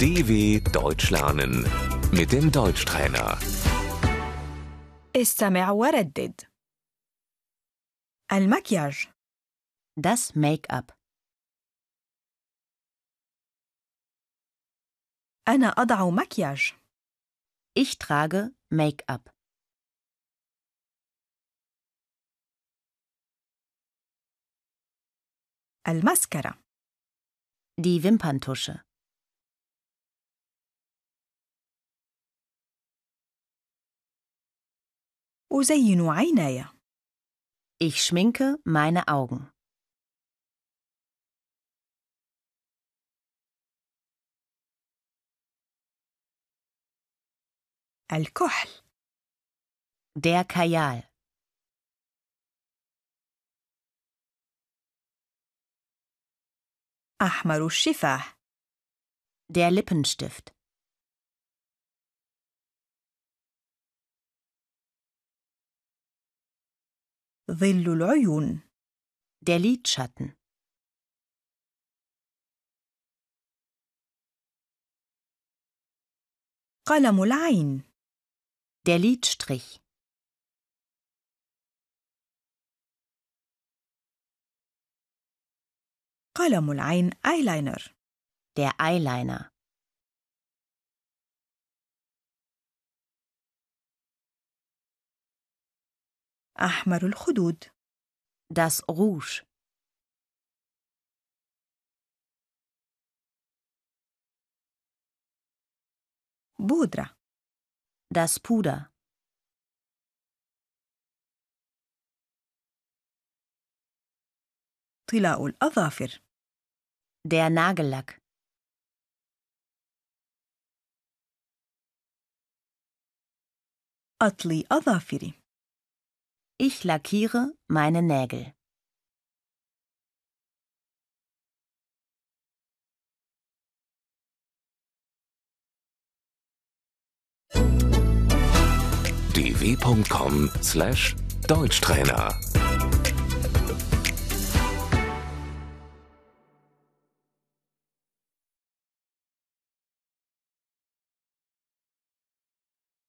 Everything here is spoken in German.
DW Deutsch lernen mit dem Deutschtrainer. استمع وردد المكياج Das Make-up. أنا أضع مكياج Ich trage Make-up. المسكرة Die Wimperntusche. أزين عيناي Ich schminke meine Augen. الكحل Der Kajal. أحمر الشفاه Der Lippenstift. ظل العيون Der Lidschatten. قلم العين Der Lidstrich. قلم العين آيلاينر Der Eyeliner. أحمر الخدود Das Rouge. بودرة Das Puder. طلاء الأظافر Der Nagellack. أطلي أظافري Ich lackiere meine Nägel. dw.com/deutschtrainer